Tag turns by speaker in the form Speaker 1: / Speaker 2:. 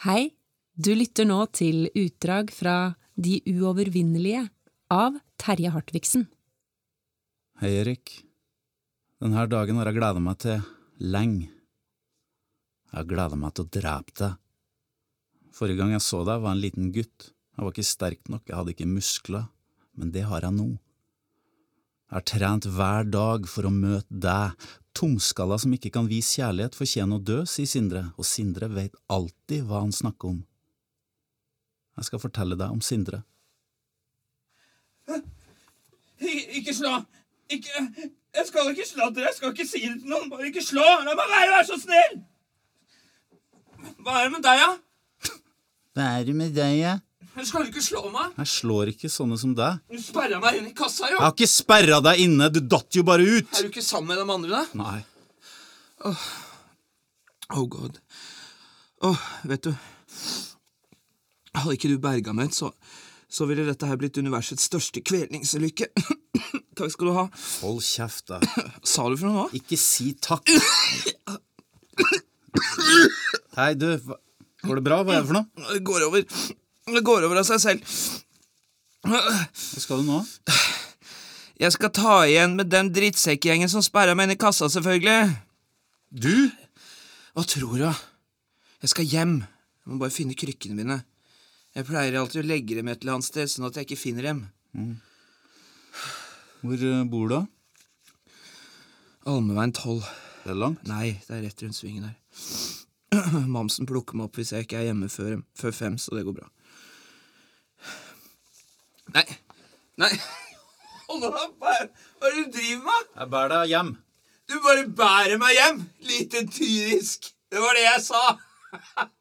Speaker 1: Hei, du lytter nå til utdrag fra De uovervinnelige av Terje Hartvigsen.
Speaker 2: Hei, Erik. Denne dagen har jeg gleda meg til lenge. Jeg har gleda meg til å drepe deg. Forrige gang jeg så deg, var jeg en liten gutt. Jeg var ikke sterk nok, jeg hadde ikke muskler, men det har jeg nå. Jeg har trent hver dag for å møte deg. Tungskalla som ikke kan vise kjærlighet, fortjener å dø, sier Sindre, og Sindre vet alltid hva han snakker om. Jeg skal fortelle deg om Sindre.
Speaker 3: Ik ikke slå! Ikke Jeg skal ikke sladre, jeg skal ikke si det til noen. Bare ikke slå! La meg være, vær så snill! Hva er det med deg, da?
Speaker 2: Hva er det med deg, jeg?
Speaker 3: Ja? Skal du ikke slå meg?
Speaker 2: Jeg slår ikke sånne som deg.
Speaker 3: Du sperra meg inn i kassa, jo!
Speaker 2: Jeg har ikke sperra deg inne, du datt jo bare ut!
Speaker 3: Er du ikke sammen med de andre, da?
Speaker 2: Nei.
Speaker 3: Oh god. Åh, vet du Hadde ikke du berga meg, så, så ville dette her blitt universets største kvelningsulykke. Takk skal du ha.
Speaker 2: Hold kjeft, da.
Speaker 3: Sa du for noe nå?
Speaker 2: Ikke si takk. Hei, du. hva- Går det bra? Hva er det for noe?
Speaker 3: Det går over. Det går over av seg selv.
Speaker 2: Hva skal du nå?
Speaker 3: Jeg skal ta igjen med den drittsekkgjengen som sperra meg inn i kassa, selvfølgelig.
Speaker 2: Du?
Speaker 3: Hva tror du? Jeg skal hjem. Jeg må bare finne krykkene mine. Jeg pleier alltid å legge dem et eller annet sted, sånn at jeg ikke finner dem.
Speaker 2: Hvor eh, bor du?
Speaker 3: Almeveien 12.
Speaker 2: Det er langt.
Speaker 3: Nei, det er rett rundt svingen der. Mamsen plukker meg opp hvis jeg ikke er hjemme før, før fem, så det går bra. Nei. Nei. Hold opp! Hva er hva er det du driver med?
Speaker 2: Jeg bærer deg hjem.
Speaker 3: Du bare bærer meg hjem! Lite tyrisk! Det var det jeg sa!